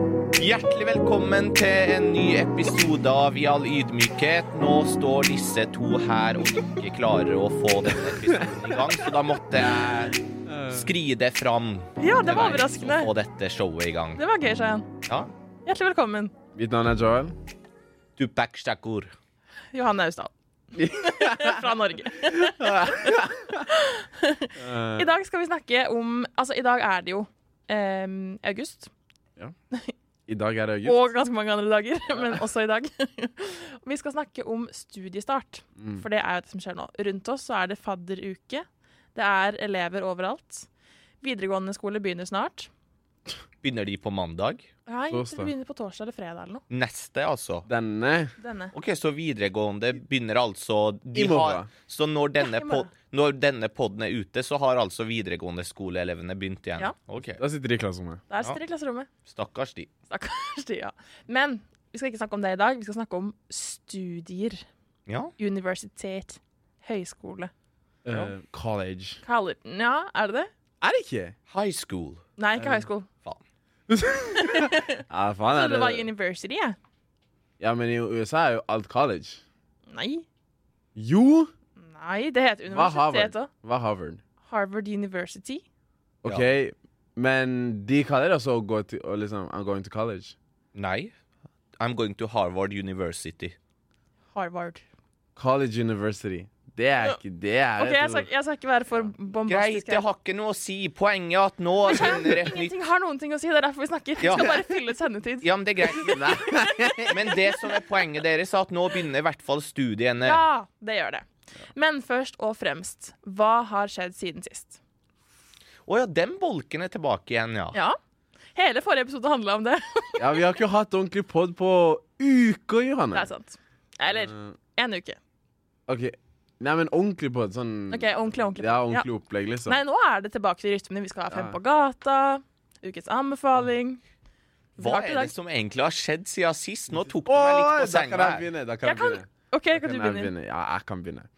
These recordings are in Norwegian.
Hjertelig velkommen til en ny episode av I all ydmykhet. Nå står disse to her og ikke klarer å få denne episoden i gang, så da måtte jeg skride fram. Ja, det var til verks overraskende. Og få dette showet i gang. Det var gøy, Shayan. Ja. Hjertelig velkommen, Mitt navn er Joel. Tupac Shakur. Johanne Austdal. Fra Norge. I dag skal vi snakke om Altså, i dag er det jo em, august, I dag er det august. og ganske mange andre dager, men også i dag. vi skal snakke om studiestart, Mm. for det er jo det som skjer nå. Rundt oss så er det fadderuke. Det er elever overalt. Videregående skole begynner snart. Begynner de på mandag? Nei, det Torsdag. begynner på torsdag eller fredag eller noe. Neste, altså. Denne Denne. OK, så videregående begynner altså de I morgen. har, Så når denne, Ja, i morgen. pod, når denne podden er ute, så har altså videregående skoleelevene begynt igjen? Ja. OK. Da sitter de i klasserommet. Der sitter de i klasserommet. Stakkars de. Stakkars de, ja. Men vi skal ikke snakke om det i dag. Vi skal snakke om studier. Ja. Universitet. Høyskole. Eh, college. Kaller Ja, er det det? Er det ikke? High school. Nei, ikke high school. Ja, Jeg faen er trodde det var det. university, jeg. Ja, men i USA er jo alt college. Nei. Jo! Nei, det heter Hva er Harvard? universitet òg. Hva er Harvard? Harvard University. OK, men de kaller det også å gå til å liksom I'm going to college. Nei. I'm going to Harvard University. Harvard. College university. Det er ikke Det er OK, et- jeg skal, jeg skal ikke være for Greit, bombastisk. det her. har ikke noe å si. Poenget er at nå begynner et nytt Ingenting har noen ting å si. Det er derfor vi snakker. Vi Ja. skal bare fylle sendetid. Ja, men det er greit. Men det som er poenget deres, er at nå begynner i hvert fall studiene. Ja, det gjør det. Men først og fremst, hva har skjedd siden sist? Å ja, den bolken er tilbake igjen, ja. Ja. Hele forrige episode handla om det. Ja, vi har ikke hatt ordentlig pod på uker, Johanne. Det er sant. Eller Eh, en uke. OK. Nei, men ordentlig pod. Sånn Ok, ordentlig, ordentlig. Ja, ordentlig opplegg, liksom. Nei, nå er det tilbake til rytmene. Vi skal ha Fem Ja. på gata, Ukens anbefaling. Hva Rart i er dag. det som egentlig har skjedd siden sist? Nå tok du meg Åh, litt på da kan senga. jeg her. begynne. Da kan Jeg jeg, kan- begynne. OK, Da kan du kan jeg begynne? begynne. Ja, jeg kan begynne.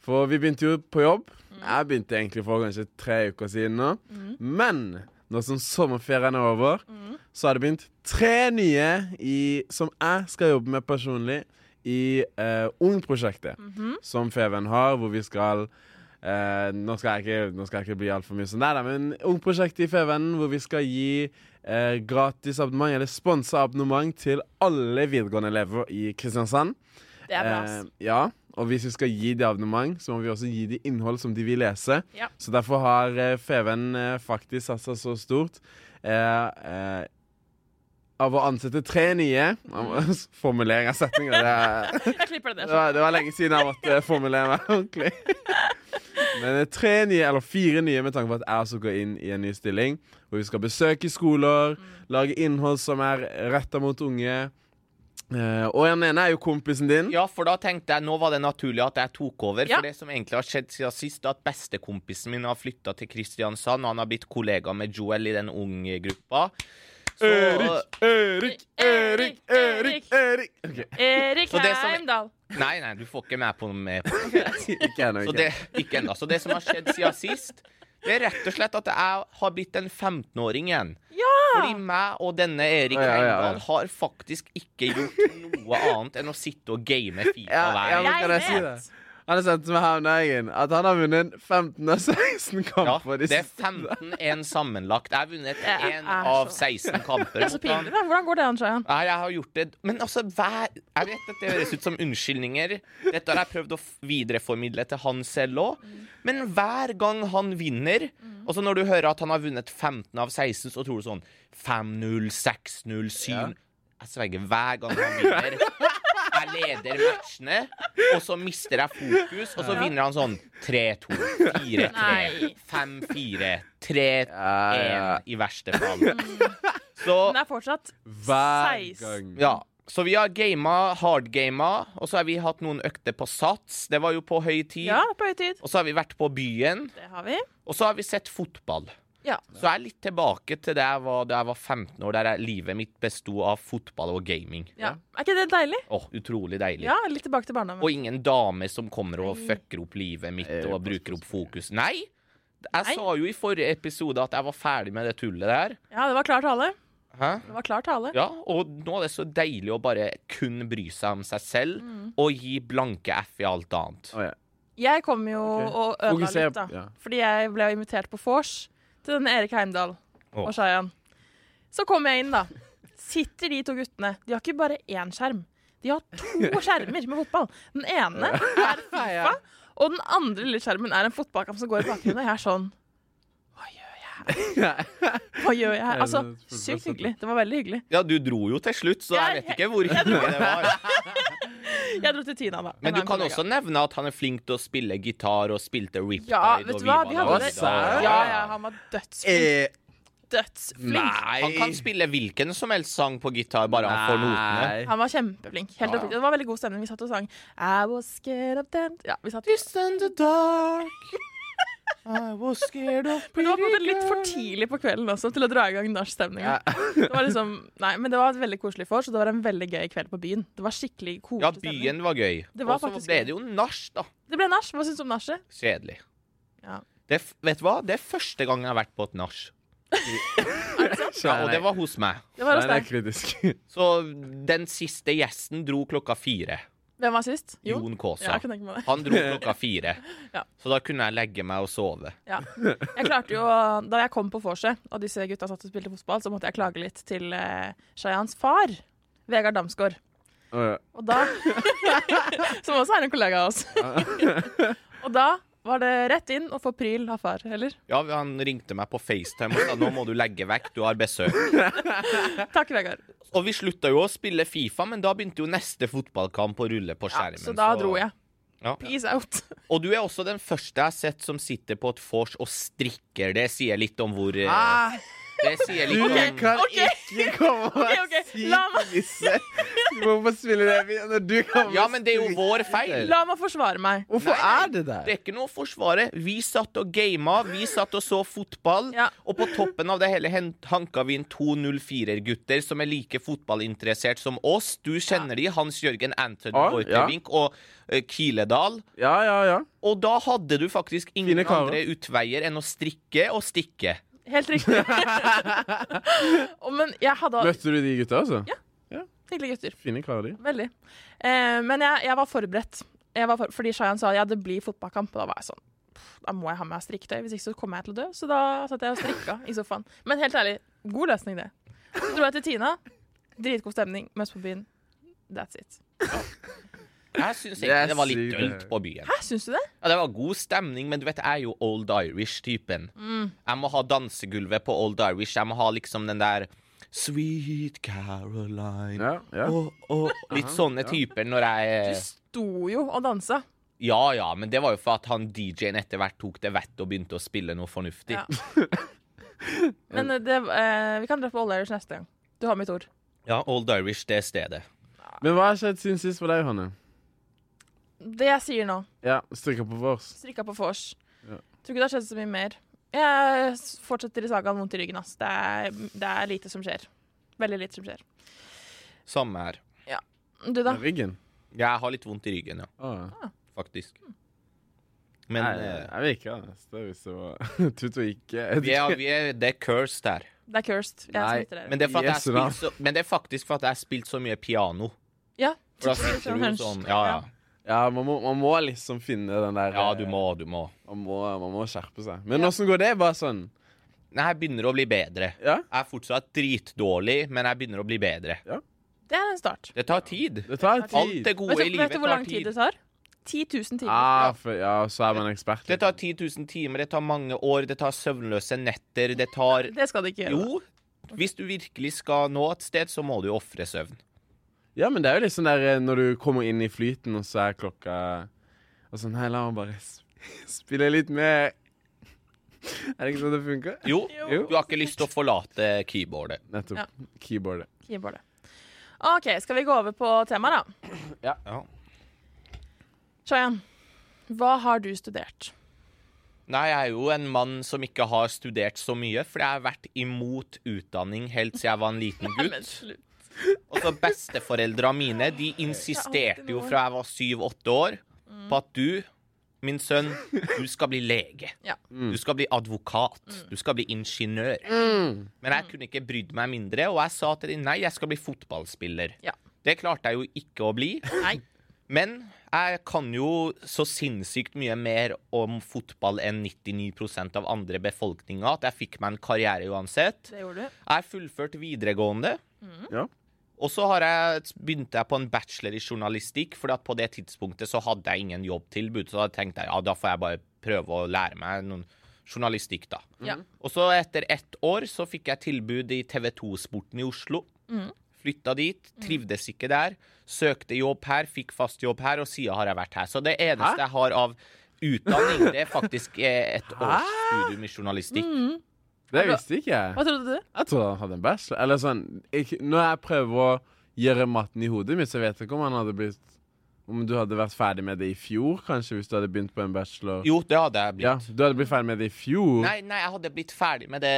For vi begynte jo på jobb. Mm. Jeg begynte egentlig for kanskje tre uker siden nå. Men nå som sommerferien er over, Mm. så har det begynt tre nye i, som jeg skal jobbe med personlig i eh, Ung-prosjektet Mhm. som Feven har, hvor vi skal eh, nå, skal jeg ikke, nå skal jeg ikke bli altfor mye sånn, nei da, men Ungprosjektet i Feven hvor vi skal gi eh, gratis abonnement, eller sponsa abonnement, til alle videregående elever i Kristiansand. Det er bra. ass. Eh, ja, og hvis vi skal gi de abonnement, så må vi også gi de innhold som de vil lese. Ja. Så derfor har eh, Feven eh, faktisk satsa så stort eh, eh, av å ansette tre nye. Formulering av setninger, det er Jeg klipper det det der. var, det var lenge siden jeg måtte eh, formulere meg ordentlig. Men det er tre nye, eller fire nye, med tanke på at jeg også går inn i en ny stilling. Hvor vi skal besøke Mm. skoler, lage innhold som er retta mot unge. Eh, og den ene er jo kompisen din. Ja, for da tenkte jeg, nå var det naturlig at jeg tok over. Ja. For det som egentlig har skjedd siden sist, er at bestekompisen min har flytta til Kristiansand, og han har blitt kollega med Joel i den unge gruppa. Så, Erik, Erik, Erik, Erik, Erik. Ok, Erik Så det som- Heimdal. Nei, nei, du får ikke meg på med på Ikke ennå. Så ikke det, ennå. ikke enda. Så det som har skjedd siden sist, det er rett og slett at jeg har blitt en 15-åring igjen. Fordi meg og denne Erik Ja, ja, ja, ja. Engdahl har faktisk ikke gjort noe annet enn å sitte og game Fifa Ja, hver ja, men dag. Jeg kan jeg si vet. det? Han har sendt meg her om dagen at han har vunnet 15 av Ja, 16 kamper. de det er siste- 15-1 sammenlagt. Jeg har vunnet Jeg er én så- av 16 kamper. Det er så mot han. pinlig. da. Hvordan går det an, Shayan? Nei, jeg har gjort det Men altså, hver Jeg vet at det høres ut som unnskyldninger. Dette har jeg prøvd å f- videreformidle til han selv òg. Men hver gang han vinner Og så når du hører at han har vunnet 15 av 16, så tror du sånn 5-0, 6-0, 7 Ja. Jeg sverger, hver gang han vinner Jeg leder matchene, og så mister jeg fokus, og så vinner han sånn 3-2, 4-3, Nei. 5-4, 3-1 Ja, ja. i verste fall. Så Men det er fortsatt Hver 16. gang. ja. Så vi har gama, hardgama, og så har vi hatt noen økter på sats. Det var jo på høy tid. Ja, på høytid. Og så har vi vært på byen, Det har vi. og så har vi sett fotball. Ja. Så jeg er litt tilbake til det jeg var da jeg var 15 år, der jeg, livet mitt besto av fotball og gaming. ja. Er ikke det deilig? Åh, utrolig deilig. Ja, lilitt tilbake til barndommen. Og ingen dame som kommer og Nei. fucker opp livet mitt Eh, og pass, bruker opp pass, fokus. Nei! Jeg Nei. sa jo i forrige episode at jeg var ferdig med det tullet der. Ja, det var klar tale. Hæ? Det var klar tale. Ja, og nå er det så deilig å bare kun bry seg om seg selv Mm. og gi blanke F i alt annet. Å, ja. Jeg kom jo Ok. og ødela Fokuser- litt, da. ja. Fordi jeg ble invitert på vors til denne Erik Heimdal Å. og Shayan. Så kom jeg inn, da. Sitter de to guttene De har ikke bare én skjerm. De har to skjermer med fotball. Den ene er Fifa, og den andre lille skjermen er en fotballkamp som går i bakgrunnen. Og jeg er sånn Hva gjør jeg her? Altså, sykt hyggelig. Det var veldig hyggelig. Ja, du dro jo til slutt, så jeg Jeg- vet ikke hvor hyggelig det var. Jeg dro til Tina, da. en Men du annen kan kollega. også nevne at han er flink til å spille gitar og spilte Riptide. Ja, vet du hva? Vi hadde det- Ja, Serr? Ja, ja, han var dødsflink. Eh, Dødsflink. nei. Han kan spille hvilken som helst sang på gitar, bare han får notene. Nei. Han var kjempeflink. Helt Ja. oppriktig. Det var veldig god stemning. Vi satt og sang I was scared of them Ja, vi satt Men in the dark. I was scared of det var på en måte litt for tidlig på kvelden også til å dra i gang nachstemninga. Ja. Det var liksom Nei, men det var et veldig koselig vors, og det var en veldig gøy kveld på byen. Det var skikkelig koselig Ja, stemning. byen var gøy. Det var Og så faktisk ble gøy. det jo nach, da. Det ble nach. Hva syns du om nachet? Kjedelig. Ja. Det, er f- vet du hva? Det er første gang jeg har vært på et nach. Ja, og det var hos meg. Det var Nei, hos det er deg. kritisk. Så den siste gjesten dro klokka fire. Hvem var sist? Jon? Jon Ja, Kaasa. jeg kan tenke meg det. Han dro klokka fire. Ja. Så da kunne jeg legge meg og sove. Ja. Jeg klarte jo, Da jeg kom på vorset, og disse gutta satt og spilte fotball, så måtte jeg klage litt til eh, Shayans far, Vegard Damsgaard. Å, ja. Og da Som også er en kollega av oss. og da var det rett inn og få pryl av far, eller? Ja, Han ringte meg på FaceTime og sa nå må du legge vekk, du har besøk. Takk, Vegard. Og vi slutta jo å spille Fifa, men da begynte jo neste fotballkamp å rulle på Ja, skjermen. så da dro jeg. Ja. Peace out. Og du er også den første jeg har sett som sitter på et vors og strikker. Det sier litt om hvor eh, Ah, Det sier litt du om kan ok. ikke komme og Ok, ok. si La meg- disse. Du må få spille det videre. Du kan Ja, men det er jo vår feil. La meg forsvare meg. Hvorfor Nei, er det der? Det er ikke noe å forsvare. Vi satt og gama, vi satt og så fotball. Ja. Og på toppen av det hele hen- hanka vi inn to 04-gutter som er like fotballinteressert som oss. Du kjenner de, Hans Jørgen Anthony Ah, Ja, Borchgrevink og eh, Kiledal. Ja, ja, ja. Og da hadde du faktisk ingen Fine karer. andre utveier enn å strikke og stikke. Helt riktig. Å, men jeg hadde Møtte du de gutta, altså? Ja. hyggelige gutter. Fine karer, de. Veldig. Eh, men jeg, jeg var forberedt. Jeg var for, fordi Shayan sa ja, det blir fotballkamp. Og da var jeg sånn "Pff, Da må jeg ha med meg strikketøy, hvis ikke så kommer jeg til å dø. Så da satt jeg og strikka i sofaen. Men helt ærlig, god løsning, det. Så dro jeg til Tina. Dritgod stemning. Møtes på byen. That's it. Jeg syns Det er egentlig det var litt sykt, dølt det. på byen. Hæ, syns du det? Ja, det var god stemning, men du vet, jeg er jo old Irish-typen. Mm. Jeg må ha dansegulvet på old Irish. Jeg må ha liksom den der Sweet Caroline Ja, ja. Åh, åh. Litt sånne typer når Du jeg sto jo og dansa. Ja ja, men det var jo for at han DJ-en etter hvert tok det vettet og begynte å spille noe fornuftig. Ja. Men eh, det, eh, vi kan dra på All Irish neste gang. Du har mitt ord. Ja, Old Irish, det stedet. Men hva har skjedd siden sist for deg, Johanne? Det jeg sier nå, Ja, strikka på vors. strikka på vors. Ja. Tror ikke det har skjedd så mye mer. Jeg s- fortsetter i sagaen vondt i ryggen. Ass. Det, er, det er lite som skjer. Veldig lite som skjer. Samme her. Du, da? Ryggen. Jeg har litt vondt i ryggen, ja. Ah. Faktisk. Mm. Men Nei, eh, jeg vet ikke. ass. Det hvis det var Tut og ikke. Jeg vet vi er, ikke. vi er, det er cursed her. Det er cursed. Jeg Nei, smitter dere. Men det, er for at jeg har Jesu navn. spilt så, men det er faktisk for at jeg har spilt så mye piano. Ja. For da sitter du sånn Ja, ja. Ja, man må, man må liksom finne den der Ja, du må, du må. Man må, man må skjerpe seg. Men åssen går det? Bare sånn? Nei, jeg begynner å bli bedre. Ja, Jeg er fortsatt dritdårlig, men jeg begynner å bli bedre. Det er en start. Det tar tid. det tar Alt tid. det gode Vet i du, livet vet du hvor tar lang tid tid. det tar? 10 000 timer. Ah, for, ja, så er man ekspert. Det tar 10 000 timer, det tar mange år, det tar søvnløse netter, det tar Det skal det ikke gjøre. Jo, hvis du virkelig skal nå et sted, så må du jo ofre søvn. Ja, men det er jo liksom der eh, når du kommer inn i flyten, og så er klokka Og sånn, hei, la meg bare sp- spille litt mer. Er det ikke sånn det funker? Jo, Jo. du har ikke lyst til å forlate keyboardet. Nettopp. Ja. Keyboardet. Gi bare det. OK, skal vi gå over på temaet, da? Ja. Shayan, hva har du studert? Nei, jeg er jo en mann som ikke har studert så mye, for jeg har vært imot utdanning helt siden jeg var en liten Nei, men gutt. slutt. Og så besteforeldra mine De insisterte jo fra jeg var syv-åtte år på at du min sønn, du skal bli lege. Ja. Du skal bli advokat. Mm. Du skal bli ingeniør. Men jeg kunne ikke brydd meg mindre, og jeg sa til dem nei, jeg skal bli fotballspiller. Ja. Det klarte jeg jo ikke å bli. Nei. Men jeg kan jo så sinnssykt mye mer om fotball enn 99 av andre befolkninga at jeg fikk meg en karriere uansett. Det gjorde du. Jeg fullførte videregående. Ja. Og så har jeg, begynte jeg på en bachelor i journalistikk, Fordi at på det tidspunktet så hadde jeg ingen jobbtilbud. Så da tenkte jeg ja, da får jeg bare prøve å lære meg noen journalistikk, da. Ja. Og så etter ett år så fikk jeg tilbud i TV 2-sporten i Oslo. Mm. Flytta dit, trivdes ikke der. Søkte jobb her, fikk fast jobb her, og siden har jeg vært her. Så det eneste jeg har av utdanning, det er faktisk eh, et års studium i journalistikk. Mm. Det Altså, visste ikke jeg. Hva trodde du? Jeg tror han hadde en bachelor. Eller sånn ikke, Når jeg prøver å gjøre matten i hodet mitt, så vet jeg ikke om han hadde blitt Om du hadde vært ferdig med det i fjor, kanskje, hvis du hadde begynt på en bachelor. Jo, det hadde jeg blitt. Ja, Du hadde blitt ferdig med det i fjor? Nei, nei, jeg hadde blitt ferdig med det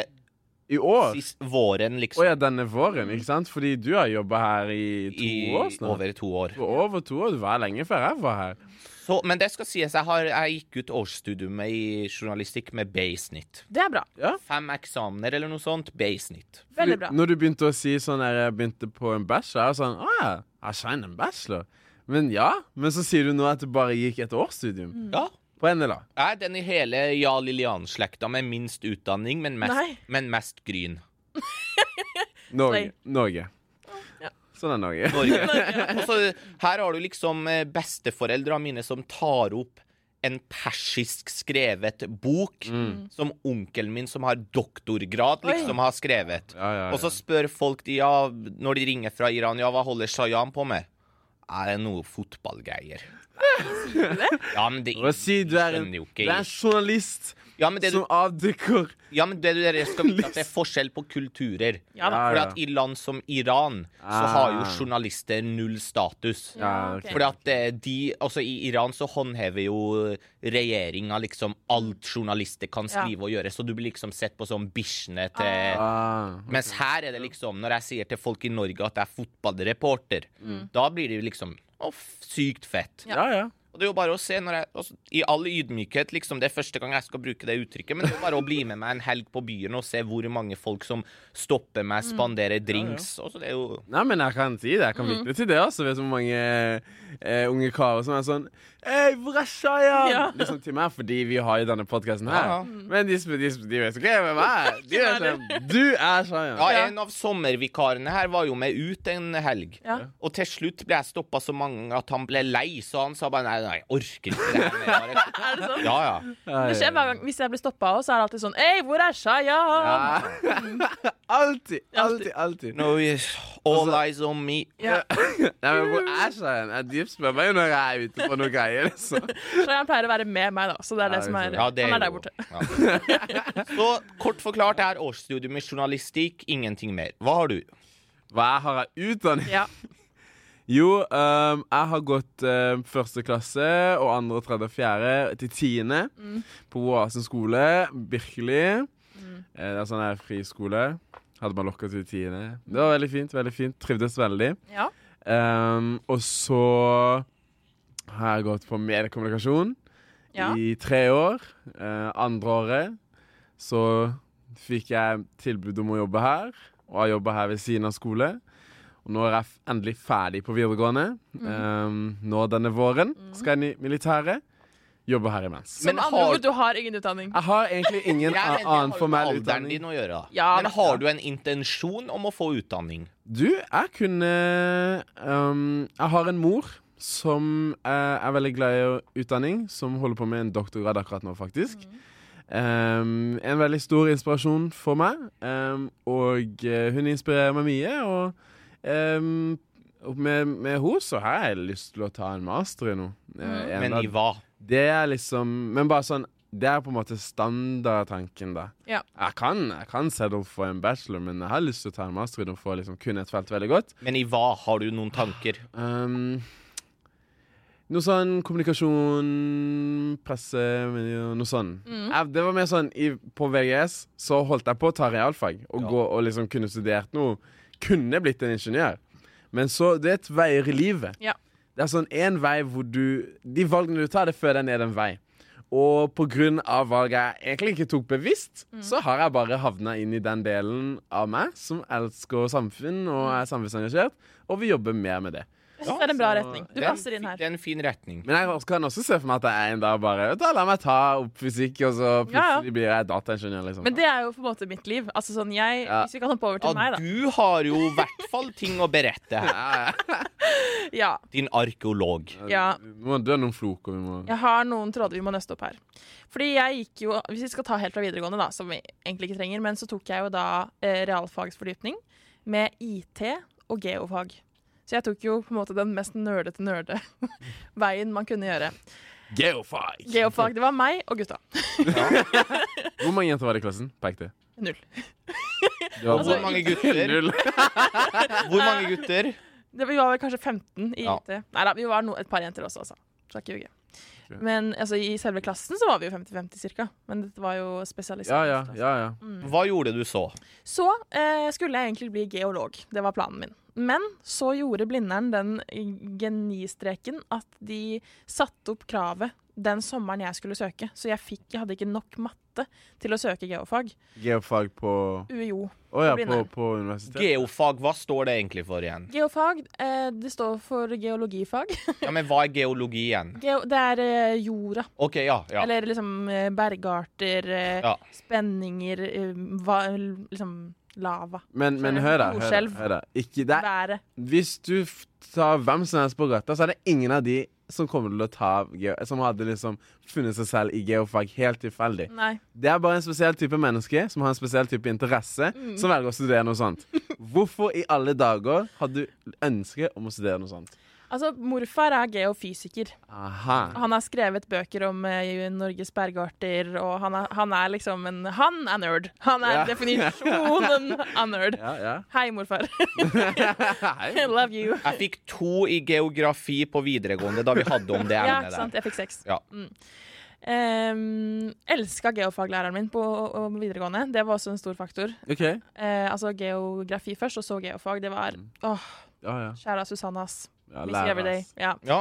I år? sist våren, Å liksom. ja, denne våren, ikke sant? Fordi du har jobba her i to I år snart. over to år. Over. over to år. Du var her lenge før jeg var her. Så, men det skal sies, jeg, har, jeg gikk ut årsstudiumet i journalistikk med B-snitt. Det er bra. Fem eksamener eller noe sånt. B-snitt. Mm. Veldig bra. Når du begynte å si sånn her, jeg begynte på en bachelor, jeg var sånn Å ja, jeg skjønner en bachelor. Men ja, men så sier du nå at du bare gikk et årsstudium Ja. på NLA. Jeg er den i hele Ja Lillian-slekta med minst utdanning, men Nei. mest, men mest gryn. Nei. Norge. Norge. Sånn er Norge. Norge. Og så her har du liksom eh, besteforeldra mine som tar opp en persisk skrevet bok Mm. som onkelen min, som har doktorgrad, Oi. liksom har skrevet. Ja, ja, Og så ja. spør folk de, ja, når de ringer fra Iran Ja, hva holder Shayan på med? Er det noe fotballgreier? Ja, men det Og si du er en, skjønner jo du ikke er en journalist ja, men det du, som avdekker ja, men det du dere skal vite at det er forskjell på kulturer. Ja da. Fordi at i land som Iran så Ah. har jo journalister null status. Ja, ok. Fordi at eh, de, altså I Iran så håndhever jo regjeringa liksom alt journalister kan Ja. skrive og gjøre, så du blir liksom sett på som bikkjene til ah, Mens her er det liksom, når jeg sier til folk i Norge at jeg er fotballreporter, da blir det jo liksom å, f- sykt fett. Mm. Ja. Ja, ja. Og det er jo bare å se når jeg altså, I all ydmykhet, liksom, det er første gang jeg skal bruke det uttrykket, men det er jo bare å bli med meg en helg på byen og se hvor mange folk som stopper meg, Mm. spanderer drinks. Og så det er jo Nei, men jeg kan si det. Jeg kan vitne til det. også Vet du hvor mange eh, unge karer som er sånn Hei, hvor er Shayan? Ja. Liksom til meg, fordi vi har jo denne podkasten her. Ja. Men de, sp- de, sp- de vet ikke hvem jeg er. De Hvem er er sånn Du er Shayan. Ja, En av sommervikarene her var jo med ut en helg. Ja. Og til slutt ble jeg stoppa så mange ganger at han ble lei, så han sa bare nei, nei jeg orker ikke det her mer. bare- Er det sånn? Ja, ja. Det skjer hver gang Hvis jeg blir stoppa òg, så er det alltid sånn Ei, hvor er Shayan? Alltid, alltid, alltid. No, yes. All Altså, eyes on me. Ja. Nei, men hvor er Shayan? Jeg dypt spør meg jo når jeg er ute på noe greier. Liksom. Shayan pleier å være med meg, da. Så det er Ja, det som er Ja, det er Han er der jo- borte. Ja. Så kort forklart er årsstudium i journalistikk ingenting mer. Hva har du? Hva jeg har av utdanning? Ja. Jo, ehm, jeg har gått ehm, første klasse og andre, tredje og fjerde til tiende på Oasen skole. Birkeli. Eh, det er sånn her friskole. Hadde man lokka til tiende. Det var veldig fint. veldig fint. Trivdes veldig. Ja. Ehm, og så har jeg gått på mediekommunikasjon ja. i tre år. Eh, andre året så fikk jeg tilbud om å jobbe her, og har jobba her ved siden av skole. Og nå er jeg f- endelig ferdig på videregående. Mm. Eh, nå denne våren skal jeg inn i militæret. Jobbe her imens. Som Men andre har- ord, du har ingen utdanning. Jeg har egentlig ingen Jeg er redd det annen har formell med alderen utdanning. din å gjøre. da. Ja, Men men- har du en intensjon om å få utdanning? Du, jeg kunne ehm, Jeg har en mor som eh, er veldig glad i utdanning, som holder på med en doktorgrad akkurat nå, faktisk. Ehm, en veldig stor inspirasjon for meg, ehm, og eh, hun inspirerer meg mye. Og ehm, og med, med henne så har jeg lyst til å ta en master i noe. eh, en Men dag. i hva? Det er liksom Men bare sånn Det er på en måte standardtanken, da. Ja. Jeg kan, jeg kan settle for en bachelor, men jeg har lyst til å ta en master i det for å liksom kunne et felt veldig godt. Men i hva har du noen tanker? Um, noe sånn kommunikasjon, presse, medier, noe sånn. Jeg, det var mer sånn i, På VGS så holdt jeg på å ta realfag og, Ja. gå, og liksom kunne studert noe. Kunne blitt en ingeniør. Men så Det er et veier i livet. Ja. Det er sånn én vei hvor du De valgene du tar, det fører deg ned en vei. Og pga. valget jeg egentlig ikke tok bevisst, Mm. så har jeg bare havna inn i den delen av meg som elsker samfunn og er samfunnsengasjert, og vil jobbe mer med det. Jeg synes det er en bra så- retning. Du Det er en passer inn fin- her. Det er en fin retning. Men jeg også- kan også se for meg at jeg en dag bare vet du, La meg ta opp fysikk, og så Ja, ja. plutselig blir jeg dataingeniør. Liksom. Men det er jo på en måte mitt liv. Altså sånn, jeg, Ja. Hvis vi kan hoppe over til Ja, meg, da. du har jo i hvert fall ting å berette her. ja, ja. Ja, Din arkeolog. Ja. Vi må- Du har noen floker vi må jeg har noen tråder vi må nøste opp her. Fordi jeg gikk jo, Hvis vi skal ta helt fra videregående, da, som vi egentlig ikke trenger, men så tok jeg jo da eh, realfagsfordypning med IT og geofag. Så jeg tok jo på en måte den mest nerdete nerde veien man kunne gjøre. Geofag! Geofag, det var meg og gutta. Hvor mange jenter var det i klassen? Pek det. Null. Du har- Altså, Hvor mange gutter? Altså, Null. Hvor mange gutter? Det, vi var vel kanskje 15 i Ja. IT. Nei da, vi var no, et par jenter også, altså. Skal ikke ljuge. Ok. Men altså, i selve klassen så var vi jo 50-50 cirka. Men dette var jo spesialister. Ja, ja, ja, ja. Mm. Hva gjorde du så? Så eh, skulle jeg egentlig bli geolog. Det var planen min. Men så gjorde Blindern den genistreken at de satte opp kravet den sommeren jeg skulle søke. Så jeg, fikk, jeg hadde ikke nok matte til å søke geofag. Geofag på UiO. Å ja, på, Blindern. på universitetet? Geofag, hva står det egentlig for igjen? Geofag, eh, det står for geologifag. Ja, men hva er geologi igjen? Geo, det er eh, jorda. OK, ja. ja. Eller liksom eh, bergarter, eh, Ja. spenninger, eh, hva, liksom lava. Men, men hør da, hør da, Jordskjelv. hør da. Ikke der. Været. Hvis du f- tar hvem som helst på gata, så er det ingen av de som kommer til å ta geo Som hadde liksom funnet seg selv i geofag helt tilfeldig. Nei. Det er bare en spesiell type menneske som har en spesiell type interesse, Mm. som velger å studere noe sånt. Hvorfor i alle dager hadde du ønske om å studere noe sånt? Altså, morfar er geofysiker. Aha. Han har skrevet bøker om eh, Norges bergarter, og han er, han er liksom en Han er nerd. Han er Ja. definisjonen av nerd. Ja, ja. Hei, morfar. I Hei. love you. Jeg fikk to i geografi på videregående da vi hadde om det Ja, emnet ikke der. sant. Jeg fikk seks. Ja. Mm. Um, Elska geofaglæreren min på, på videregående. Det var også en stor faktor. OK. Eh, altså geografi først, og så geofag. Det var åh, Ja, ja. kjære Susannas. Mm. ja Miss you lærer, every day. ass. Ja. Ja.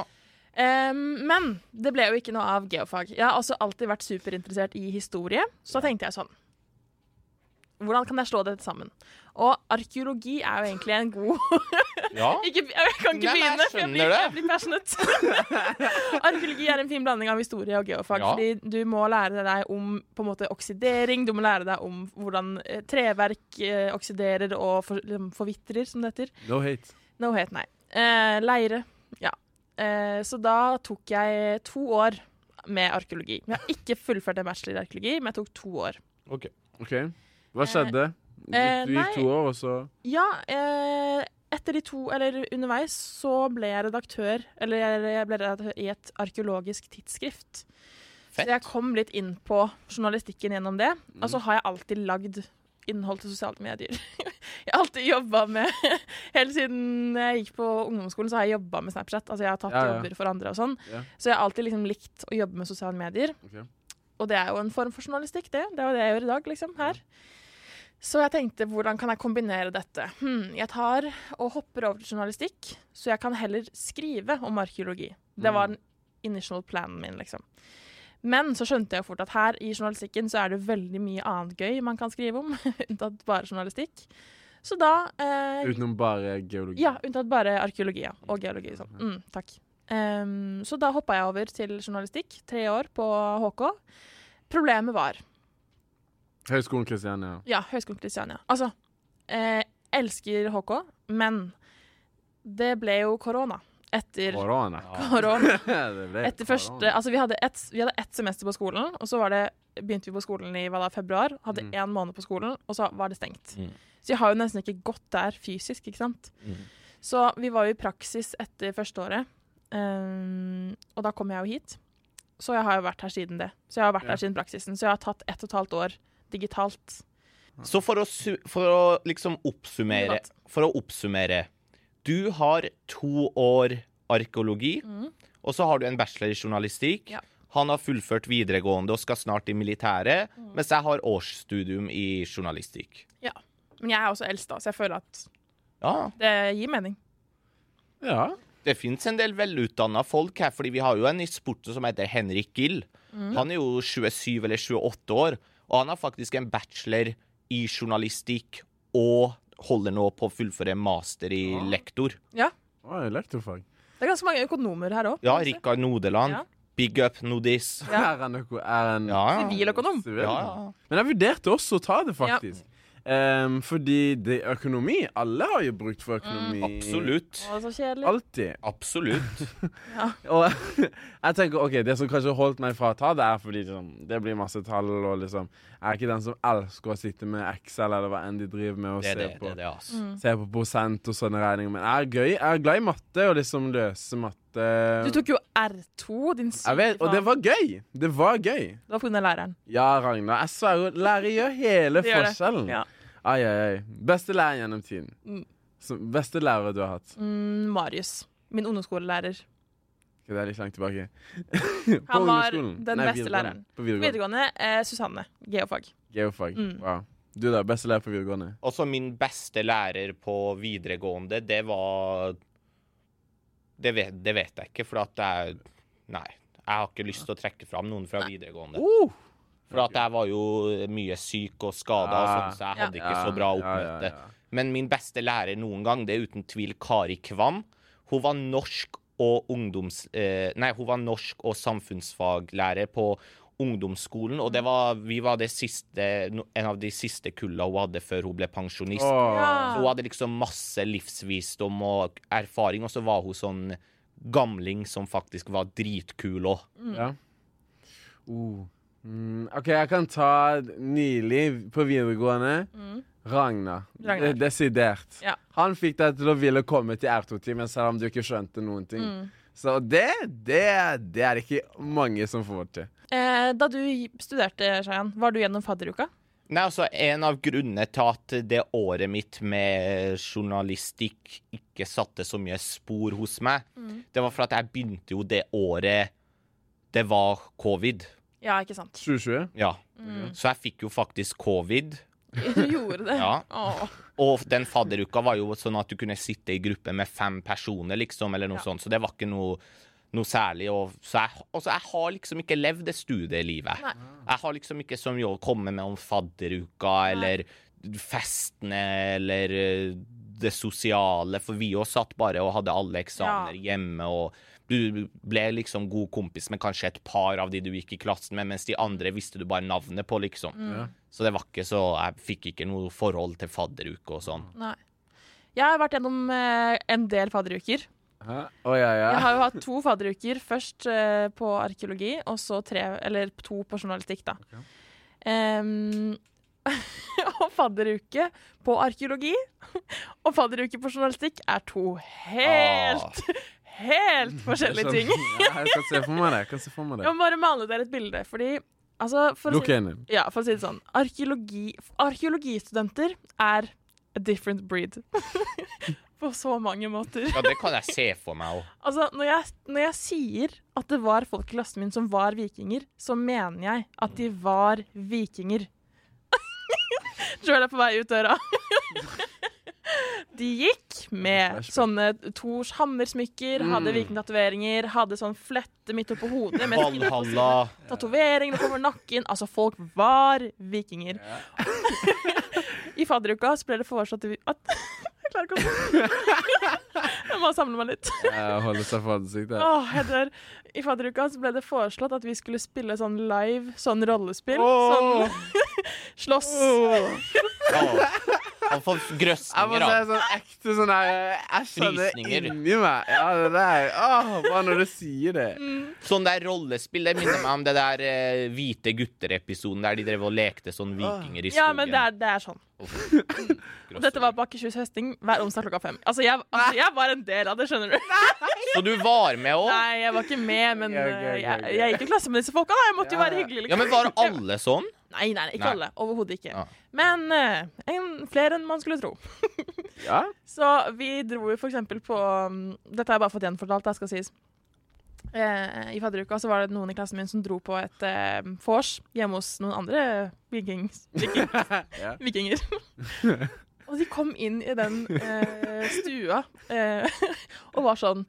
Em, men det ble jo ikke noe av geofag. Jeg har også alltid vært superinteressert i historie, så tenkte jeg sånn Hvordan kan jeg slå dette sammen? Og arkeologi er jo egentlig en god ja. ikke, Jeg kan ikke Nei, men jeg begynne, for jeg blir, skjønner det. jeg blir passionate. arkeologi er en fin blanding av historie og geofag. Ja. Fordi du må lære deg om på en måte oksidering, du må lære deg om hvordan eh, treverk eh, oksiderer og for, liksom forvitrer, som det heter. No hate. No het, nei. Eh, leire. Ja. Eh, så da tok jeg to år med arkeologi. Jeg har ikke fullført en bachelor i arkeologi, men jeg tok to år. OK. Hva skjedde? Du, eh, du gikk to år, og så Ja, eh, etter de to, eller underveis, så ble jeg redaktør, eller jeg ble redaktør i et arkeologisk tidsskrift. Fett. Så jeg kom litt inn på journalistikken gjennom det. Og Mm. så har jeg alltid lagd innhold til sosiale medier. Jeg har alltid jobba med Helt siden jeg gikk på ungdomsskolen, så har jeg jobba med Snapchat. Altså jeg har tatt Ja, ja. jobber for andre og sånn. Ja. Så jeg har alltid liksom likt å jobbe med sosiale medier. Ok. Og det er jo en form for journalistikk, det. Det er jo det jeg gjør i dag, liksom. Her. Så jeg tenkte, hvordan kan jeg kombinere dette? Hm, jeg tar og hopper over til journalistikk, så jeg kan heller skrive om arkeologi. Det var den initial planen min, liksom. Men så skjønte jeg jo fort at her i journalistikken så er det veldig mye annet gøy man kan skrive om, unntatt bare journalistikk. Så da eh, Utenom bare geologi. ja, unntatt bare arkeologi ja, og geologi. Sånn. Mm, takk. Ehm, så da hoppa jeg over til journalistikk, tre år på HK. Problemet var Høgskolen Kristiania. Ja, Høgskolen Kristiania. Altså, eh, elsker HK, men det ble jo korona etter Korona. korona. Det Eh, ble Etter første, korona. altså vi hadde, ett, vi hadde ett semester på skolen, og så var det, begynte vi på skolen i hva da, februar. Hadde Mm. én måned på skolen, og så var det stengt. Mm. Så jeg har jo nesten ikke gått der fysisk, ikke sant. Mm. Så vi var jo i praksis etter førsteåret, um, og da kom jeg jo hit. Så jeg har jo vært her siden det. Så jeg har vært Ja. her siden praksisen. Så jeg har tatt ett og et halvt år digitalt. Så for å, su for å liksom oppsummere Debatt. For å oppsummere. Du har to år arkeologi, og så har du en bachelor i journalistikk. Ja. Han har fullført videregående og skal snart i militæret, mens jeg har årsstudium i journalistikk. Men jeg er også eldst, da, så jeg føler at Ja, det gir mening. Ja. Det fins en del velutdanna folk her, fordi vi har jo en i sporten som heter Henrik Gill, Han er jo 27 eller 28 år, og han har faktisk en bachelor i journalistikk og holder nå på å fullføre master i lektor. Oi, elektrofag. Det er ganske mange økonomer her òg. Ja, Rikard Nodeland. Ja. Big up Nodis. Ja. Er han noe er han Ja, ja. Siviløkonom. Sivil? ja, ja. Men jeg vurderte også å ta det, faktisk. Ehm, fordi det er økonomi. Alle har jo brukt for økonomi. Mm, Absolutt. Å, så kjedelig. Alltid. Absolutt. Og jeg tenker, ok, Det som kanskje holdt meg fra å ta det, er fordi liksom, det blir masse tall. og liksom, Jeg er ikke den som elsker å sitte med Excel eller hva enn de driver med, og Det er se, det, det, på, er det altså. se på prosent og sånne regninger. Men jeg er gøy. Jeg er glad i matte og liksom løse matte. Du tok jo R2, din syke jeg vet, og faen. det var gøy! Det var gøy. Det var pga. læreren. Ja, Ragnar. Jeg sverger, lærer gjør hele Det gjør det. forskjellen. Ja. Ai, ai, ai. Beste lærer gjennom tiden. Mm. Som- Beste lærer du har hatt. Mm, Marius. Min ungdomsskolelærer. Ok, Det er litt langt tilbake. På Han var ungdomsskolen. den Nei, beste videregående. læreren. På videregående. Videregående eh, Susanne. Geofag. Geofag. Mm. Wow. Du da, beste lærer på videregående. Også min beste lærer på videregående, det var Det vet, det vet jeg ikke, for at det er Nei. Jeg har ikke lyst til å trekke fram noen fra videregående. Uh! For at jeg var jo mye syk og skada, Ah. sånn, så jeg hadde Ja. ikke Ja, så bra ja, oppmøte. ja, ja. Men min beste lærer noen gang, det er uten tvil Kari Kvam. Hun var norsk og, ungdoms, eh, nei, hun var norsk og samfunnsfaglærer på ungdomsskolen, og det var, vi var det siste, no- en av de siste kulla hun hadde før hun ble pensjonist. Så Åh. hun hadde liksom masse livsvisdom og erfaring, og så var hun sånn gamling som faktisk var dritkul òg. Mm. Ja. Uh. Mm. OK, jeg kan ta nylig på videregående. Ragnar. Mm. Ragnar. De- Desidert. Ja. Han fikk deg til å ville komme til R2-timen selv om du ikke skjønte noen ting. Mm. Så det, det, det er det ikke mange som får til. Eh, da du studerte, Shayan, var du gjennom fadderuka? Nei, altså, En av grunnene til at det året mitt med journalistikk ikke satte så mye spor hos meg, det var for at jeg begynte jo det året det var covid. Ja, ikke sant? 2020? Ja. Så jeg fikk jo faktisk covid. Du gjorde det. Ja. Åh. Og den fadderuka var jo sånn at du kunne sitte i gruppe med fem personer, liksom, eller noe Ja. sånt, så det var ikke noe, noe særlig. Og så jeg, altså, jeg har liksom ikke levd det studielivet. Nei. Jeg har liksom ikke så mye å komme med om fadderuka eller festene eller eh, det sosiale, for vi òg satt bare og hadde alle eksamener hjemme og du ble liksom god kompis med kanskje et par av de du gikk i klassen med, mens de andre visste du bare navnet på, liksom. Ja. Så det var ikke så Jeg fikk ikke noe forhold til fadderuke og sånn. Nei. Jeg har vært gjennom eh, en del fadderuker. Hæ? Å ja, ja. Jeg har jo hatt to fadderuker. Først eh, på arkeologi, og så tre, eller to på journalistikk, da. Em, og fadderuke på arkeologi og fadderuke på journalistikk er to helt, helt forskjellige ting. sånn- Ja, Ah. jeg kan se for meg det. Jeg kan se for meg Jeg det. må bare male dere et bilde, fordi altså, for, å Lukk si, øynene. ja, for å si det sånn arkeologi, Arkeologistudenter er a different breed. På så mange måter. Ja, det kan jeg se for meg òg. Altså, når jeg, når jeg sier at det var folk i klassen min som var vikinger, så mener jeg at de var vikinger. Joel er på vei ut døra. De gikk med sånne Thors hammersmykker, hadde vikingtatoveringer, hadde sånn flette midt oppå hodet med skrift på Valhalla. siden, tatoveringer oppover nakken. Altså, folk var vikinger. I fadderuka så ble det foreslått at Jeg klarer ikke å Jeg må samle meg litt. Jeg holder seg for ansiktet. Åh, jeg dør. I fadderuka så ble det foreslått at vi skulle spille sånn live, sånn rollespill. Åh. Sånn slåss. Han får Jeg må grøsninger si av sånn ekte sånn her Jeg kjenner Frysninger. inni meg. Ja, det der. Åh, bare når du sier det. Sånn der rollespill, det minner meg om det der eh, Hvite gutter-episoden der de drev og lekte sånn vikinger i skogen. Ja, men det er, det er sånn. Grøsninger. Dette var på Akershus høsting hver onsdag klokka fem. Altså jeg, altså, jeg var en del av det, skjønner du. Så du var med òg? Nei, jeg var ikke med, men Ok, ok, ok, eh, ok. jeg, jeg gikk i klasse med disse folka. Da. Jeg måtte jo Ja, være ja. hyggelig. liksom. Ja, men var alle sånn? Nei, nei, ikke Nei. alle. Overhodet ikke. Ja. Men eh, en, flere enn man skulle tro. Ja? Så vi dro jo for eksempel på um, Dette har jeg bare fått gjenfortalt, det skal sies. Eh, I fadderuka så var det noen i klassen min som dro på et eh, vors hjemme hos noen andre vikings, viking, Ja. vikinger. og de kom inn i den eh, stua eh, og var sånn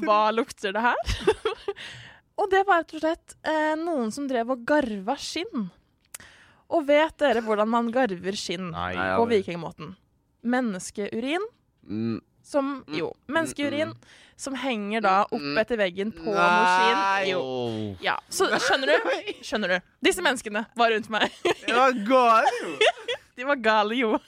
Hva lukter det her? Og det var rett og slett eh, noen som drev og garva skinn. Og vet dere hvordan man garver skinn Nei. Nei, på aldri. vikingmåten? Menneskeurin Mm, som Jo, menneskeurin som henger da opp etter veggen på noe skinn. mm. Nei. Jo. Ja, så skjønner du? Skjønner du? Disse menneskene var rundt meg. Det var galt, jo! De var gale, jo.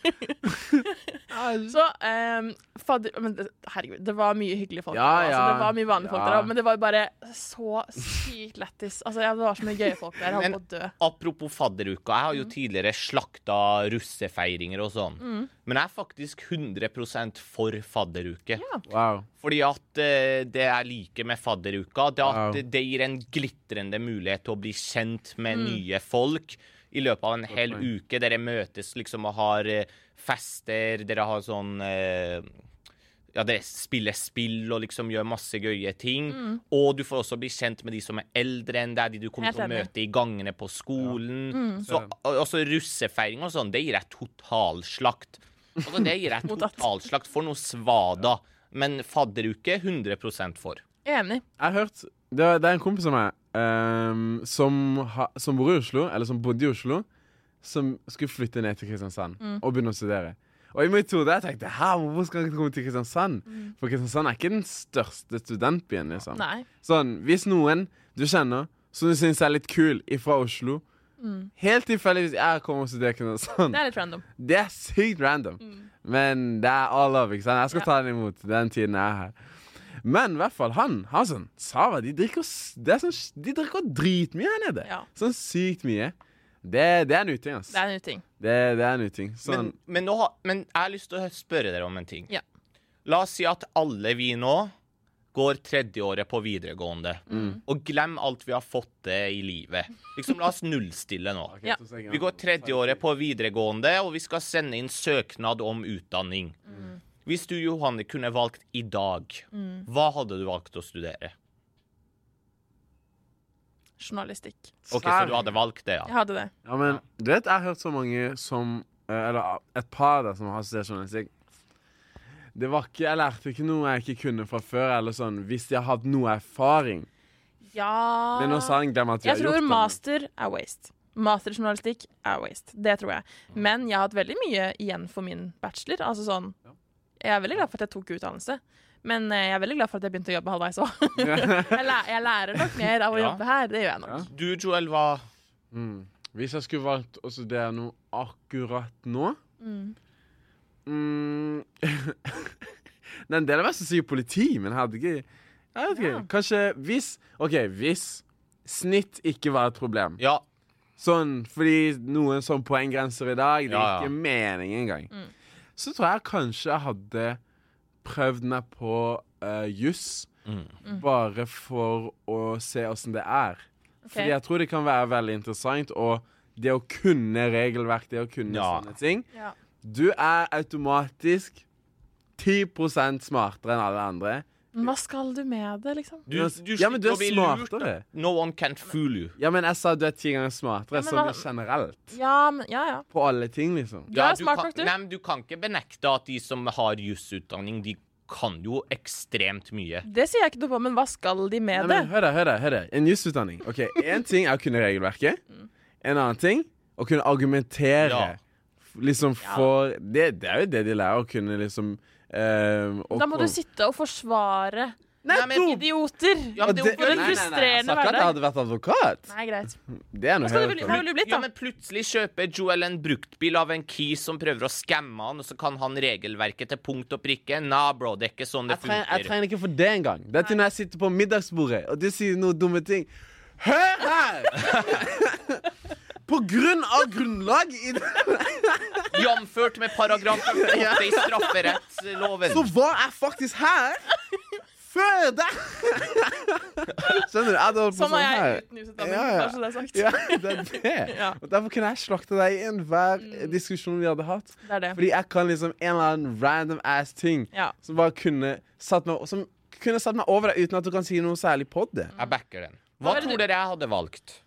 Æsj. Så ehm, fadder, men det, Herregud, det var mye hyggelige folk. Ja, der, altså, ja. det var mye vanlige folk Ja. der òg, men det var jo bare så sykt lættis. Altså, ja, det var så mye gøye folk der. Jeg holdt på å dø. Apropos fadderuka, jeg har Mm. jo tidligere slakta russefeiringer og sånn. Men jeg er faktisk 100 for fadderuke. Ja. Wow. Fordi at eh, det jeg liker med fadderuka, det er at Wow. det gir en glitrende mulighet til å bli kjent med nye folk i løpet av en hel poeng. uke. Dere møtes liksom og har eh, fester, dere har sånn eh, ja, dere spiller spill og liksom gjør masse gøye ting. Og du får også bli kjent med de som er eldre enn deg, de du kommer Helt til å enig. møte i gangene på skolen. Så, og, også russefeiring og sånn, det gir jeg totalslakt. Altså, det gir jeg Mottatt. totalslakt for noe svada. Men fadderuke 100 for. Jeg er enig. Jeg har hørt Det, var, det er en kompis av meg ehm, som, ha, som bor i Oslo, eller som bodde i Oslo, som skulle flytte ned til Kristiansand Mm. og begynne å studere. Og i mitt hode jeg tenkte Hæ, hvorfor skal han ikke komme til Kristiansand? For Kristiansand er ikke den største studentbyen. liksom. Mm. Nei. Sånn, Hvis noen du kjenner som du syns er litt kul ifra Oslo Helt tilfeldigvis jeg kommer og studerer i Kristiansand. Mm. Det er litt random. Det er sykt random. Men det er all love, ikke sant? Jeg skal Mm. Ja. ta den imot den tiden jeg er her. Men i hvert fall han, han sånn, Sava, de drikker, s- det er sånn, s- de drikker dritmye her nede. Ja. Sånn sykt mye. Det, det er en uting, ass. Det er en ny ting. Det, det er en uting. Sånn, Men, men, nå, ha- men jeg har lyst til å spørre dere om en ting. Ja. La oss si at alle vi nå går tredjeåret på videregående. Og glem alt vi har fått til i livet. Liksom, la oss nullstille nå. Ok, Ja. to sekunder. Vi går tredjeåret på videregående, og vi skal sende inn søknad om utdanning. Hvis du, Johanne, kunne valgt i dag, hva hadde du valgt å studere? Journalistikk. Ok, Så du hadde valgt det, Jeg ja. hadde det. Ja, men du vet, jeg har hørt så mange som eh, Eller et par der som har studert journalistikk. Det var ikke, Jeg lærte ikke noe jeg ikke kunne fra før, eller sånn, hvis jeg hadde noe erfaring. Ja Men nå sa han glem at vi Ah. Jeg har gjort tror det. master er waste. Masterjournalistikk er waste. Det tror jeg. Men jeg har hatt veldig mye igjen for min bachelor. Altså sånn Jeg er veldig glad for at jeg tok utdannelse. Men eh, jeg er veldig glad for at jeg begynte å jobbe halvveis òg. jeg, læ jeg lærer nok mer av å Ja. jobbe her. Det gjør jeg nok. Ja. Du, Joel, hva Mm. Hvis jeg skulle valgt å studere noe akkurat nå Mm. mm. Det er en del av meg som sier politi, men jeg hadde ikke Jeg vet ikke. Ja. Kanskje hvis OK, hvis snitt ikke var et problem. Ja, Sånn fordi noen sånn poenggrenser i dag, det Ja, er ja. ikke mening engang. Mm. Så tror jeg kanskje jeg hadde prøvd meg på eh, juss, Mm. bare for å se åssen det er. Ok. Fordi jeg tror det kan være veldig interessant, og det å kunne regelverk, det å kunne Ja. sånne ting Ja. Du er automatisk 10 smartere enn alle andre. Men hva skal du med det, liksom? du, du ja, men du slipper er å bli lurt. smartere. No one can fool you. Ja, men jeg sa du er ti ganger smartere, Ja, men sånn hva- generelt. Ja, men Ja, ja. På alle ting, liksom. Du er smart kan, nok, du. Nei, men du kan ikke benekte at de som har jusutdanning, de kan jo ekstremt mye. Det sier jeg ikke noe på, men hva skal de med Nei, men, det? hør da, hør da, hør da. En jusutdanning. Ok, En ting er å kunne regelverket. En annen ting å kunne argumentere. Ja. F- Liksom Ja. for det, det er jo det de lærer, å kunne liksom eh, å Da må kom- du sitte og forsvare Nei, men- Nettopp! idioter. Ja, men det er jo Nei, For en nei, nei, jeg frustrerende sa ikke at altså, jeg hverdag. hadde vært advokat. Nei, Altså, greit. Det er Hva noe skal helt du, hva annet. ville du blitt, Ja, da? men plutselig kjøper Joel en bruktbil av en kis som prøver å skamme han, og så kan han regelverket til punkt og prikke. Nah, bro, det er ikke sånn det Jeg trenger, jeg funker. trenger ikke for det engang. Det er til når jeg sitter på middagsbordet, og du sier noen dumme ting. Hør her! på grunn av grunnlag i Jamført med paragraf 58 i strafferettsloven. Så hva er faktisk her? Før der! Skjønner du? Jeg hadde holdt på Sånn sånn har her. jeg uten jusutdanning, Ja, ja. bare så det er sagt. Ja, det er det. Ja. Mm. Og derfor kunne jeg slakte deg i enhver eh, diskusjon vi hadde hatt. Det er det. Fordi jeg kan liksom en eller annen random ass ting Ja. som bare kunne satt meg, som kunne satt meg over deg uten at du kan si noe særlig på det. Mm. Jeg backer den. Hva Hva ville tror du- dere jeg hadde valgt?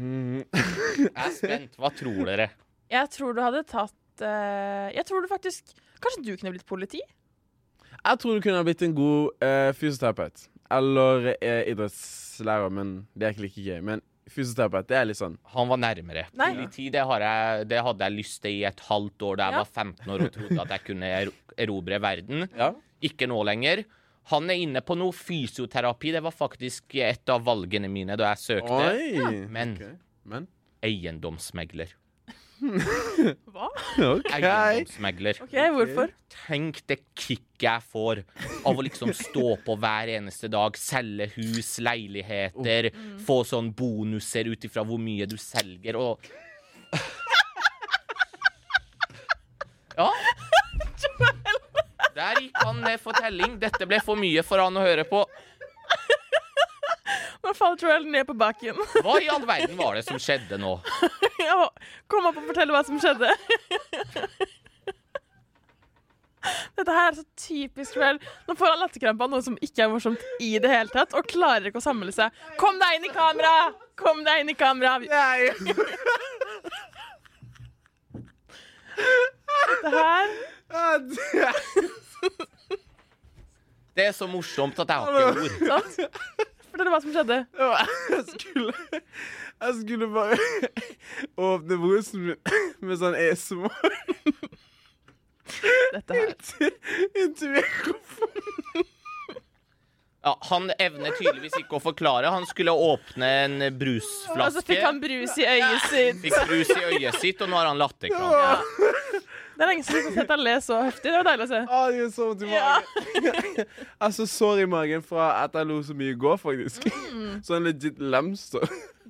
Mm. Jeg er spent. Hva tror dere? Jeg tror du hadde tatt eh, Jeg tror du faktisk Kanskje du kunne blitt politi? Jeg tror du kunne ha blitt en god eh, fysioterapeut. eller eh, idrettslærer, men det er ikke like gøy. Men fysioterapeut, det er litt sånn Han var nærmere. Nei. Politi, det, har jeg, det hadde jeg lyst til i et halvt år da jeg Ja. var 15 år og trodde at jeg kunne ero- erobre verden. Ja. Ikke nå lenger. Han er inne på noe fysioterapi. Det var faktisk et av valgene mine da jeg søkte. Oi! Men- Ok, Men Eiendomsmegler. Hva? OK. Eiendomsmegler. OK, hvorfor? Tenk det kicket jeg får av å liksom stå på hver eneste dag, selge hus, leiligheter, Mm. få sånn bonuser ut ifra hvor mye du selger, og Ja. Der gikk han ned for telling. Dette ble for mye for han å høre på. Nå faller Joel ned på bakken. Hva i all verden var det som skjedde nå? Ja, Kom opp og fortell hva som skjedde. Dette her er så typisk Joel. Nå får han latterkrampe av noe som ikke er morsomt i det hele tatt, og klarer ikke å samle seg. Kom deg inn i kamera! Kom deg inn i kamera! Nei! Dette her Det er så morsomt at jeg har ikke ord. Sant? Fortell hva som skjedde. Jeg skulle Jeg skulle bare åpne brusen min med sånn ASMR Dette her. til- inntil mikrofonen. Ja, han evner tydeligvis ikke å forklare. Han skulle åpne en Og så fikk brusflaske. han brus i øyet sitt. Fikk brus i øyet sitt, og nå har han latterkrampe. Ja. Det er lenge siden jeg har sett deg le så heftig. Det var deilig å se. Ah, det gjør så vondt i Ja. magen. altså sår i magen fra at jeg lo så mye i går, faktisk. Mm. Sånn legit lemster.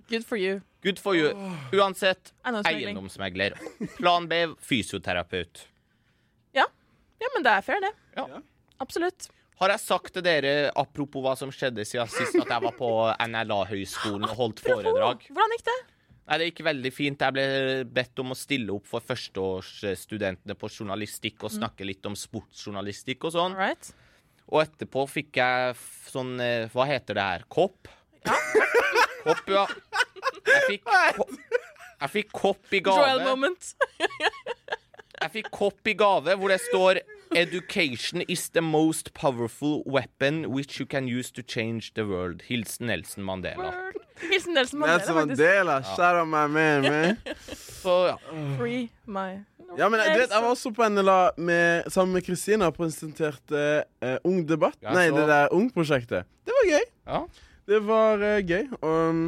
Good for you. Good for you. Uansett, Eiendomsmegling. eiendomsmegler. Plan B, fysioterapeut. Ja, men det er fair, det. Ja. Absolutt. Har jeg sagt til dere, apropos hva som skjedde siden sist, at jeg var på NLA-høgskolen og holdt foredrag? Hvordan gikk det? Nei, det gikk veldig fint. Jeg ble bedt om å stille opp for førsteårsstudentene på journalistikk og snakke litt om sportsjournalistikk og sånn. All right. Og etterpå fikk jeg f- sånn eh, Hva heter det her? Kopp? Kopp, ja. Jeg fikk, ko- jeg fikk kopp i Joel gave. moment. Jeg fikk kopp i gave hvor det står Education is the most powerful weapon which you can use to change the world. Hilsen Nelson Mandela. Hilsen Nelson Nelson Mandela, faktisk. Mandela, shout out my man, man. Så ja. Free my Ja, men jeg, vet, jeg var også på NLA med, sammen med Kristina og presenterte eh, Ung debatt. Ja, Nei, så- det der Ung-prosjektet. Det var gøy. ja. Det var eh, gøy. Og um,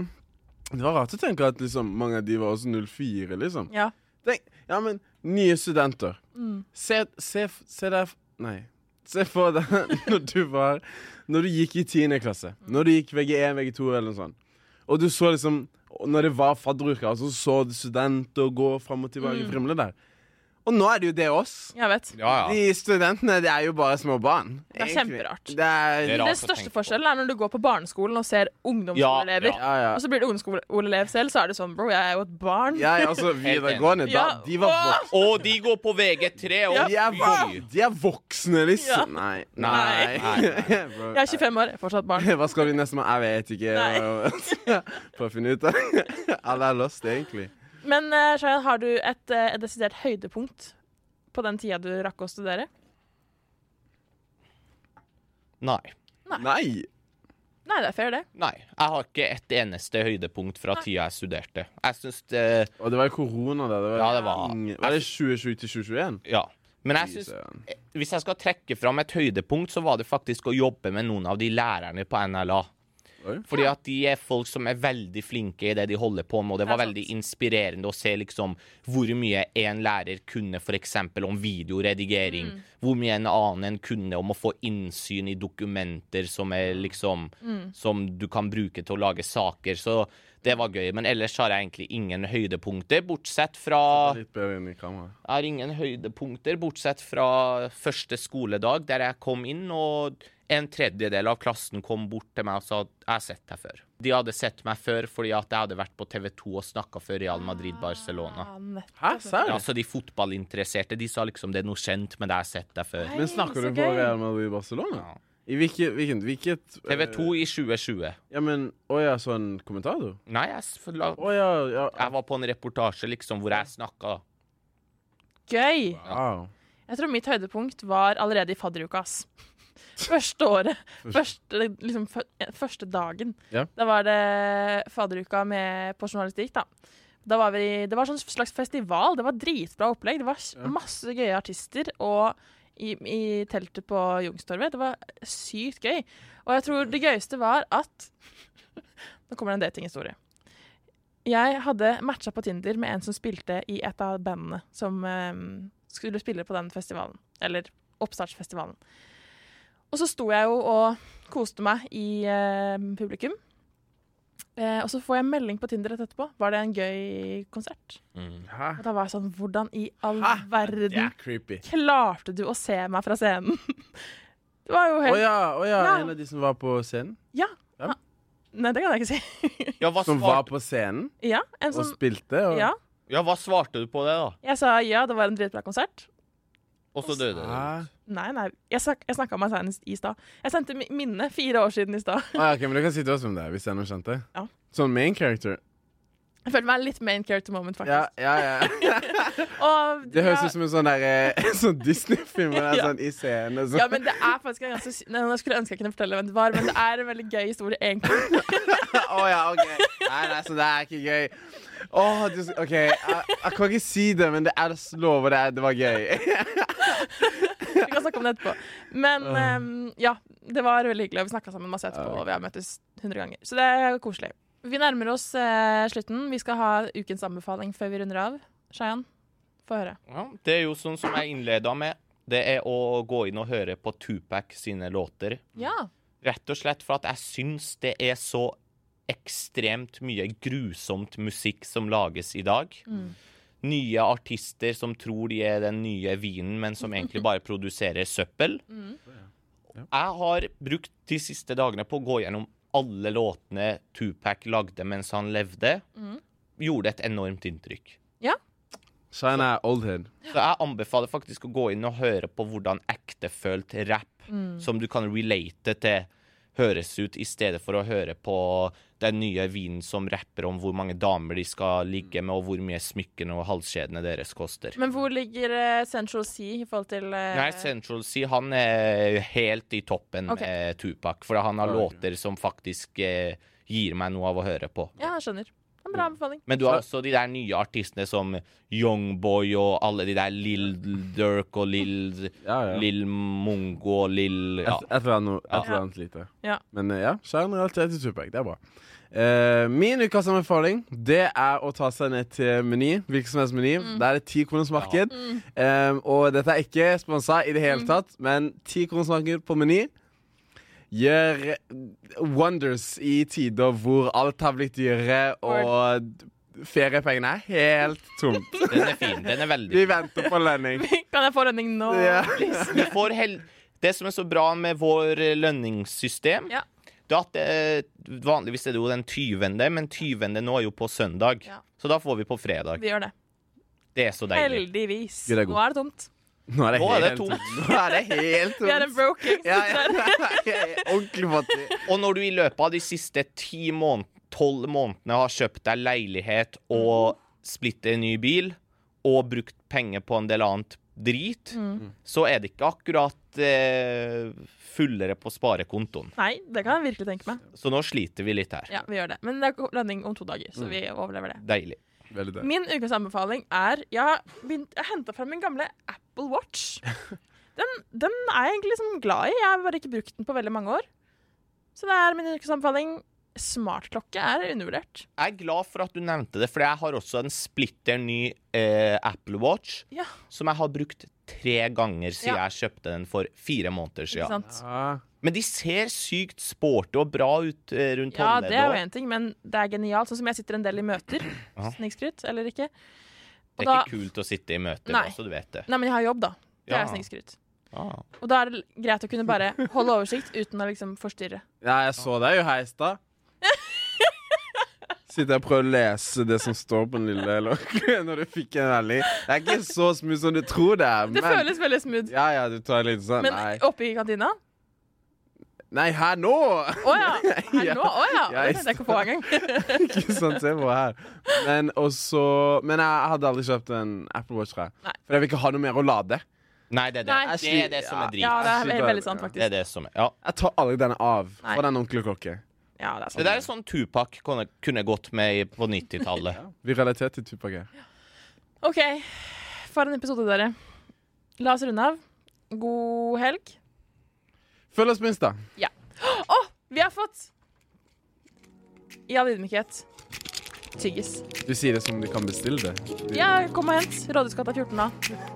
det var rart å tenke at liksom, mange av de var også 04, liksom. Ja. Tenk, ja, men nye studenter. Mm. Se, se, f- se deg f- Nei. Se for deg når du var Når du gikk i 10. klasse. Mm. Når du gikk VG1, VG2 eller noe sånt. Og du så liksom og Når det var fadderuker, altså, så så du studenter gå fram og Mm. tilbake frimle der. Og nå er det jo det oss. Jeg vet. ja, ja. De studentene det er jo bare små barn. Det er egentlig. kjemperart. Det er, Det er rart. Den å tenke største på. forskjellen er når du går på barneskolen og ser ungdomsskoleelever. Ja, Ja, ja. Og så blir du ungdomsskoleelev selv, så er det sånn Bro, jeg er jo et barn. ja, ja, altså, videregående, da, Ja. de var voksne. Og de går på VG3 og De er, fy. vok- de er voksne, Ja. liksom. Nei. Nei. Bro, Jeg er 25 år, jeg er fortsatt barn. Hva skal vi neste med? Jeg vet ikke. Prøv å finne ut av det. Alle er lost, egentlig. Men uh, har du et, eh, et desidert høydepunkt på den tida du rakk å studere? Nei. Nei. Nei, det er fair, det. Nei. Jeg har ikke et eneste høydepunkt fra tida jeg studerte. Jeg syns eh, det Og det var jo korona, da. Det var, Ja, det var- ingen- var det 2020 til 2021? Ja. Men jeg syns Hvis jeg skal trekke fram et høydepunkt, så var det faktisk å jobbe med noen av de lærerne på NLA. Oi. Fordi at de er folk som er veldig flinke i det de holder på med, og det var Det er sant. veldig inspirerende å se liksom hvor mye en lærer kunne f.eks. om videoredigering, Mm. hvor mye en annen en kunne om å få innsyn i dokumenter som er liksom Mm. Som du kan bruke til å lage saker. Så det var gøy. Men ellers har jeg egentlig ingen høydepunkter, bortsett fra Litt bedre inn i kameraet. jeg har ingen høydepunkter, bortsett fra første skoledag, der jeg kom inn, og en tredjedel av klassen kom bort til meg og sa at jeg har sett deg før. De hadde sett meg før fordi at jeg hadde vært på TV 2 og snakka for Real Madrid-Barcelona. Ah, nettopp. Hæ, Ja, så serr? de fotballinteresserte de sa liksom det er noe kjent, men jeg har sett deg før. Men snakker Nei, så du på gøy. Real Madrid Barcelona? Ja. I hvilket, hvilket, hvilket TV 2 eh, i 2020. Ja, men Å ja, sånn kommentator? Nei, jeg, s- la- Å ja, ja. jeg var på en reportasje liksom hvor jeg snakka. Gøy! Wow. Jeg tror mitt høydepunkt var allerede i fadderuka. ass. Første året. Første, liksom, fø- første dagen. Ja. Da var det fadderuka med, på journalistikk, da. Da var vi, det var sånn slags festival. Det var dritbra opplegg. Det var s- Ja. masse gøye artister. Og i, i teltet på Youngstorget. Det var sykt gøy. Og jeg tror det gøyeste var at Nå kommer det en datinghistorie. Jeg hadde matcha på Tinder med en som spilte i et av bandene som eh, skulle spille på den festivalen. Eller oppstartsfestivalen. Og så sto jeg jo og koste meg i eh, publikum. Eh, og så får jeg melding på Tinder rett etterpå. Var det en gøy konsert? Hæ? Og da var jeg sånn Hvordan i all Hæ? verden Det er creepy. klarte du å se meg fra scenen? Det var jo Å helt ja, å ja, Ja. en av de som var på scenen? Nei, det kan jeg ikke si. Ja, hva Som var svarte, på scenen Ja, en og som, spilte? Og... ja. ja, hva svarte du på det, da? Jeg sa ja, det var en dritbra konsert. Og så døde du. Hæ? Nei, nei. Jeg, snak, jeg snakka med meg senest i stad. Jeg sendte mi- minne fire år siden i stad. Å ja, ok, men du kan si til oss om det, hvis jeg nå skjønte. Ja. Sånn main character. Jeg følte meg litt main character moment, Ja, faktisk. ja, ja. Og, Det høres ja, ut som en sånn der eh, en sånn Disney-film. hvor det er Ja. Sånn i scenen. ja, Sånn. men det er faktisk en ganske sy- Nei, Jeg skulle ønske jeg kunne fortelle hvem det var, men det er en veldig gøy historie, egentlig. Å ja, OK. Nei, nei, så det er ikke gøy. Å, du, s- OK. Jeg, jeg kan ikke si det, men det er jeg lover deg, det var gøy. Vi kan snakke om det etterpå. Men ehm, ja, det var veldig hyggelig, og vi snakka sammen masse etterpå, og vi har møttes 100 ganger. Så det er koselig. Vi nærmer oss eh, slutten. Vi skal ha ukens anbefaling før vi runder av. Shayan, få høre. Ja, det er jo sånn som jeg innleda med. Det er å gå inn og høre på Tupac sine låter. Ja. Rett og slett for at jeg syns det er så ekstremt mye grusomt musikk som lages i dag. Nye artister som tror de er den nye vinen, men som egentlig bare produserer søppel. Jeg har brukt de siste dagene på å gå gjennom alle låtene Tupac lagde mens han levde. Gjorde et enormt inntrykk. Shine er old head. Så jeg anbefaler faktisk å gå inn og høre på hvordan ektefølt rap Mm. som du kan relate til, høres ut, i stedet for å høre på den nye vinen som rapper om hvor mange damer de skal ligge med, og hvor mye smykkene og halskjedene deres koster. Men hvor ligger eh, Central Sea i forhold til eh, Nei, Central Sea, han er helt i toppen Ok. med Tupac, for han har Ok. låter som faktisk eh, gir meg noe av å høre på. Ja, jeg skjønner. Det er En bra anbefaling. Men du har Så- også de der nye artistene som Youngboy og alle de der Lill Durk og Lill Ja, ja. Altså- Et, Lill Mongo og Lill ja. et eller annet, noe- et Ja. eller annet lite. Ja. Men eh, ja, shine realitet til Tupac. Det er bra. Eh, min ukas anbefaling Det er å ta seg ned til Meny. Hvilken som helst Meny. Mm. Der er det ti kroners marked. Eh, og dette er ikke sponsa i det Mm. hele tatt, men ti kroners marked på Meny gjør wonders i tider hvor alt har blitt dyrere, og feriepengene er helt tomt. Den er fin. Den er veldig Vi venter på lønning. Kan jeg få redning nå? Ja. please? Du får hel Det som er så bra med vår eh, lønningssystem, Ja. det er at det, vanligvis er det jo den 20., men 20. nå er jo på søndag. Ja. Så da får vi på fredag. Vi gjør det. Det er så deilig. Heldigvis. Gud, det er god. Nå er det tomt. Nå er det Nå er det helt tomt. tomt. Nå er det helt Vi er en tomt. broke gangster Ja, ja. der. Jeg er Ordentlig fattig. Og når du i løpet av de siste ti måned, tolv månedene har kjøpt deg leilighet Mm. og splitter en ny bil, og brukt penger på en del annet drit, Mm. så er det ikke akkurat eh, fullere på sparekontoen. Nei, det kan jeg virkelig tenke meg. Så nå sliter vi litt her. Ja, vi gjør det. Men det er redning om to dager, så vi overlever det. Deilig. Veldig deilig. Min ukens anbefaling er Jeg har begynt- jeg henta fram min gamle Apple Watch. Den, den er jeg egentlig liksom glad i. Jeg har bare ikke brukt den på veldig mange år. Så det er min ukens anbefaling. Smartklokke er undervurdert. Jeg er glad for at du nevnte det, for jeg har også en splitter ny eh, Apple Watch Ja, som jeg har brukt tre ganger siden Ja. jeg kjøpte den for fire måneder ikke siden. sant? Ah. Men de ser sykt sporty og bra ut eh, rundt Ja, det er jo håndleddet. én ting, men det er genialt. Sånn som jeg sitter en del i møter. Ja. Snikskryt eller ikke. også. Det Og da, er ikke kult å sitte i møter, Nei. bare så du vet det. nei, men jeg har jobb, da. Det Ja. er snikskryt. Ah. Og da er det l- greit å kunne bare holde oversikt uten å liksom forstyrre. Ja, jeg så deg jo heis da. Sitter og prøver å lese det som står på den lille lokken når du fikk en melding. Det er ikke så smooth som du tror det er. Det føles veldig smooth. Ja, ja, du tar litt sånn Men Nei, oppe i kantina Nei her nå! Å ja! Her Ja. nå? Å ja! Ja, Det tenkte jeg ikke på engang. ikke sant, se på her. Men også Men jeg hadde aldri kjøpt en Apple Watch, tror jeg. Nei. For jeg vil ikke ha noe mer å lade. Nei, det er det. Nei. Det er det som er drit. Ja, det er Jeg ve- sliter- veldig sant, ja. Det faktisk. er det som er Ja. Jeg tar aldri denne av Nei. fra den onkelklokke. Ja, det er Det der er sant. sånn Tupac kunne, kunne gått med i- på 90-tallet. Vi relaterte til Tupac. her. OK, for en episode, dere. La oss runde av. God helg. Følg oss på Insta. Vi har fått I all ydmykhet tyggis. Du sier det som om du kan bestille det. Du- Ja, kom og hent. Rådhusgata 14A.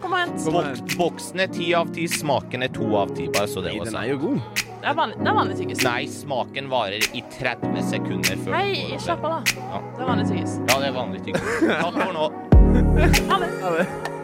Kom og hent. Kom her. Bok, boksen er ti av ti, smaken er to av ti. Bare så det Nei, var den er sagt. jo god. Det er vanlig, det er vanlig tyggis. Nei, smaken varer i 30 sekunder før den Hei, går over. slapp av, da. Ja. Det er vanlig tyggis. Ja, det er vanlig tygging. Takk for nå. Ha det. Ha det.